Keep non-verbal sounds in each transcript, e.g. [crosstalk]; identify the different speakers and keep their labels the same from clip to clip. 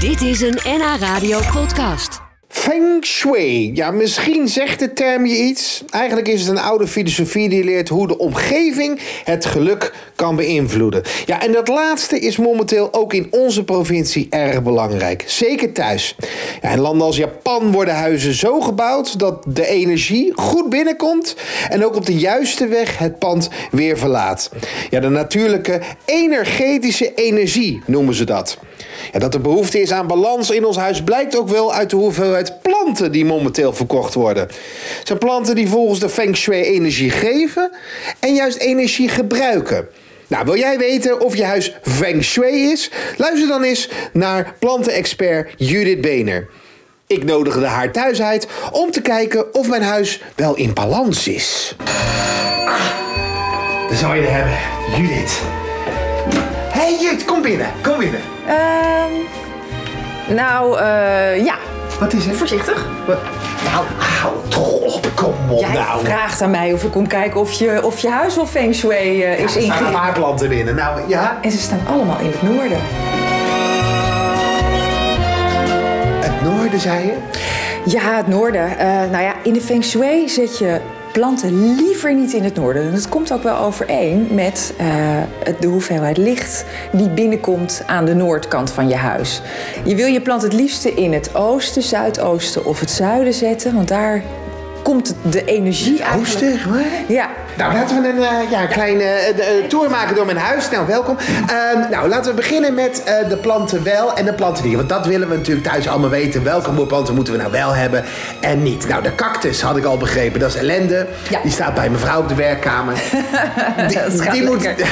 Speaker 1: Dit is een NH Radio podcast.
Speaker 2: Feng Shui. Ja, misschien zegt de term je iets. Eigenlijk is het een oude filosofie die leert hoe de omgeving het geluk kan beïnvloeden. Ja, en dat laatste is momenteel ook in onze provincie erg belangrijk. Zeker thuis. Ja, in landen als Japan worden huizen zo gebouwd dat de energie goed binnenkomt en ook op de juiste weg het pand weer verlaat. Ja, de natuurlijke energetische energie noemen ze dat. Ja, dat er behoefte is aan balans in ons huis blijkt ook wel uit de hoeveelheid planten die momenteel verkocht worden. Het zijn planten die volgens de Feng Shui energie geven en juist energie gebruiken. Nou, wil jij weten of je huis Feng Shui is? Luister dan eens naar plantenexpert Judith Bener. Ik nodigde haar thuis uit om te kijken of mijn huis wel in balans is. Ah, daar zou je hebben, Judith. hey Judith, kom binnen, kom binnen.
Speaker 3: Ehm nou, eh, ja.
Speaker 2: Wat is het?
Speaker 3: Voorzichtig.
Speaker 2: Wat? Nou, hou toch op, kom op
Speaker 3: Jij
Speaker 2: nou.
Speaker 3: vraagt aan mij of ik kom kijken of je, of je huis wel feng shui eh,
Speaker 2: Er
Speaker 3: is
Speaker 2: staan een
Speaker 3: ingericht.
Speaker 2: paar planten binnen. Nou, ja.
Speaker 3: En ze staan allemaal in het noorden.
Speaker 2: Het noorden, zei je?
Speaker 3: Ja, het noorden. Eh, nou ja, in de feng shui zet je planten liever niet in het noorden. En dat komt ook wel overeen met eh, het- de hoeveelheid licht die binnenkomt aan de noordkant van je huis. Je wil je plant het liefste in het oosten, zuidoosten of het zuiden zetten, want daar komt de energie uit.
Speaker 2: Oosten, waar?
Speaker 3: Ja,
Speaker 2: Oh, Nou, laten we een eh, ja, kleine eh, eh, tour maken door mijn huis. Nou, welkom. Ehm, nou, laten we beginnen met eh, de planten wel en de planten niet. Want dat willen we natuurlijk thuis allemaal weten. Welke planten moeten we nou wel hebben en niet? Nou, de cactus had ik al begrepen. Dat is ellende.
Speaker 3: Ja.
Speaker 2: Die staat bij mevrouw op de
Speaker 3: [laughs]
Speaker 2: werkkamer.
Speaker 3: Dat
Speaker 2: die,
Speaker 3: gaat
Speaker 2: die, moet,
Speaker 3: lekker.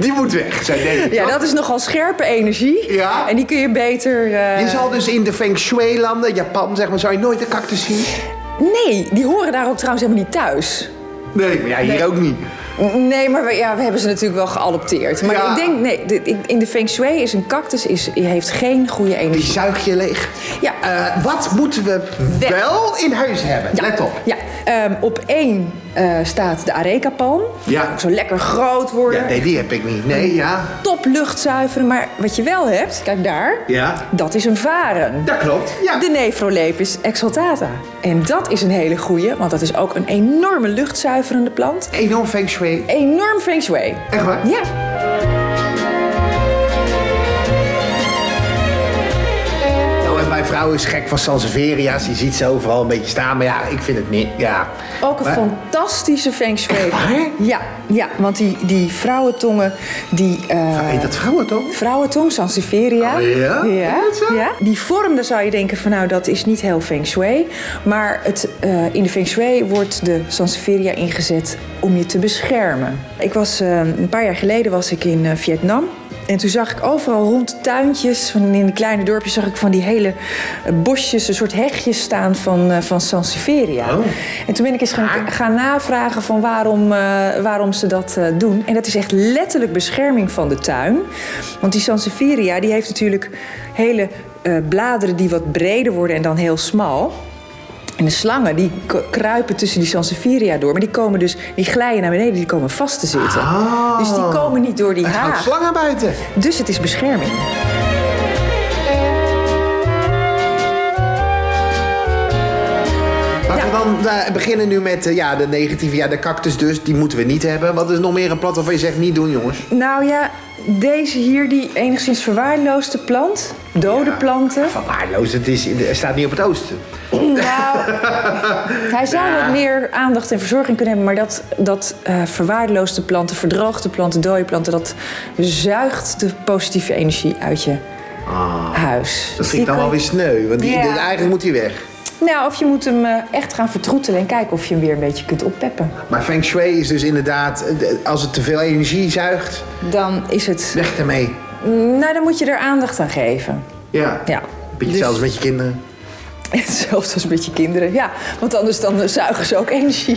Speaker 2: [laughs] die moet weg, zou ik denken.
Speaker 3: ja, dat is nogal scherpe energie.
Speaker 2: Ja.
Speaker 3: En die kun je beter. eh,
Speaker 2: Je zal dus in de Feng Shui-landen, Japan zeg maar, zou je nooit een cactus zien?
Speaker 3: Nee, die horen daar ook trouwens helemaal niet thuis.
Speaker 2: Nee, maar ja, hier ook niet.
Speaker 3: Nee, maar we, ja, we hebben ze natuurlijk wel geadopteerd. Maar
Speaker 2: Ja.
Speaker 3: ik denk, nee, de- ik- in de Feng Shui is een cactus is, heeft geen goede
Speaker 2: Die
Speaker 3: energie.
Speaker 2: zuig je leeg.
Speaker 3: Ja.
Speaker 2: Eh, wat moeten we
Speaker 3: Wel.
Speaker 2: wel in huis hebben? Let op.
Speaker 3: Ja, ehm, op één eh, staat de Areca-palm.
Speaker 2: Ja.
Speaker 3: Zo lekker groot worden.
Speaker 2: Ja, nee, die heb ik niet. Nee, ja.
Speaker 3: Top lucht zuiveren. Maar wat je wel hebt, kijk daar,
Speaker 2: Ja.
Speaker 3: dat is een varen.
Speaker 2: Dat klopt. Ja.
Speaker 3: De Nephrolepis exaltata. En dat is een hele goeie, want dat is ook een enorme luchtzuiverende plant.
Speaker 2: Enorm feng shui.
Speaker 3: Enorm feng shui.
Speaker 2: Echt waar?
Speaker 3: Ja.
Speaker 2: Nou, en mijn vrouw is gek van Sanseveria's. Die ziet ze overal een beetje staan. Maar ja, ik vind het niet. Ja.
Speaker 3: Ook een
Speaker 2: Maar-
Speaker 3: fantastische feng shui.
Speaker 2: waar?
Speaker 3: Ja, ja, want die, die vrouwentongen, die eh,
Speaker 2: Heet dat vrouwen toch?
Speaker 3: vrouwentong, Sansevieria.
Speaker 2: Oh ja?
Speaker 3: Ja,
Speaker 2: Is dat zo?
Speaker 3: ja. Die vorm, daar zou je denken van nou, dat is niet heel feng shui. Maar het, eh, in de feng shui wordt de Sansevieria ingezet om je te beschermen. Ik was, eh, een paar jaar geleden was ik in eh, Vietnam. En toen zag ik overal rond de tuintjes, van in de kleine dorpjes, zag ik van die hele eh, bosjes, een soort hegjes staan van, eh van Sansevieria.
Speaker 2: Oh.
Speaker 3: En toen ben ik eens gaan, gaan navragen van waarom, eh, waarom ze dat eh, doen. En dat is echt letterlijk bescherming van de tuin. Want die Sansevieria die heeft natuurlijk hele eh, bladeren die wat breder worden en dan heel smal. En de slangen die k- kruipen tussen die Sansevieria door. Maar die komen dus, die glijden naar beneden, die komen vast te zitten.
Speaker 2: Ah.
Speaker 3: Dus die komen niet door die
Speaker 2: Het houdt
Speaker 3: haag.
Speaker 2: slangen buiten.
Speaker 3: Dus het is bescherming.
Speaker 2: Laten we
Speaker 3: Ja.
Speaker 2: dan eh, beginnen nu met eh, ja, de negatieve. Ja, de cactus dus. Die moeten we niet hebben. Wat is nog meer een plat waarvan je zegt niet doen, jongens?
Speaker 3: Nou ja, deze hier, die enigszins verwaarloosde plant, dode planten.
Speaker 2: Verwaarloosd. Het, is, het staat niet op het oosten. [laughs]
Speaker 3: Nou, hij zou wat meer aandacht en verzorging kunnen hebben, maar dat, dat eh, verwaarloosde planten, verdroogde planten, dode planten, dat zuigt de positieve energie uit je huis.
Speaker 2: Ah, Dat vind ik dan wel weer sneu. Want die,
Speaker 3: Ja.
Speaker 2: dit- eigenlijk moet hij weg.
Speaker 3: Nou, of je moet hem eh, echt gaan vertroetelen en kijken of je hem weer een beetje kunt oppeppen.
Speaker 2: Maar feng shui is dus inderdaad... eh, de- Als het te veel energie zuigt,
Speaker 3: Dan is het.
Speaker 2: weg ermee.
Speaker 3: Nou, dan moet je er aandacht aan geven.
Speaker 2: Ja.
Speaker 3: Ja. [laughs] Dus-
Speaker 2: Beetje hetzelfde met je kinderen.
Speaker 3: Hetzelfde als met je kinderen, ja. Want anders dan eh, zuigen ze ook energie.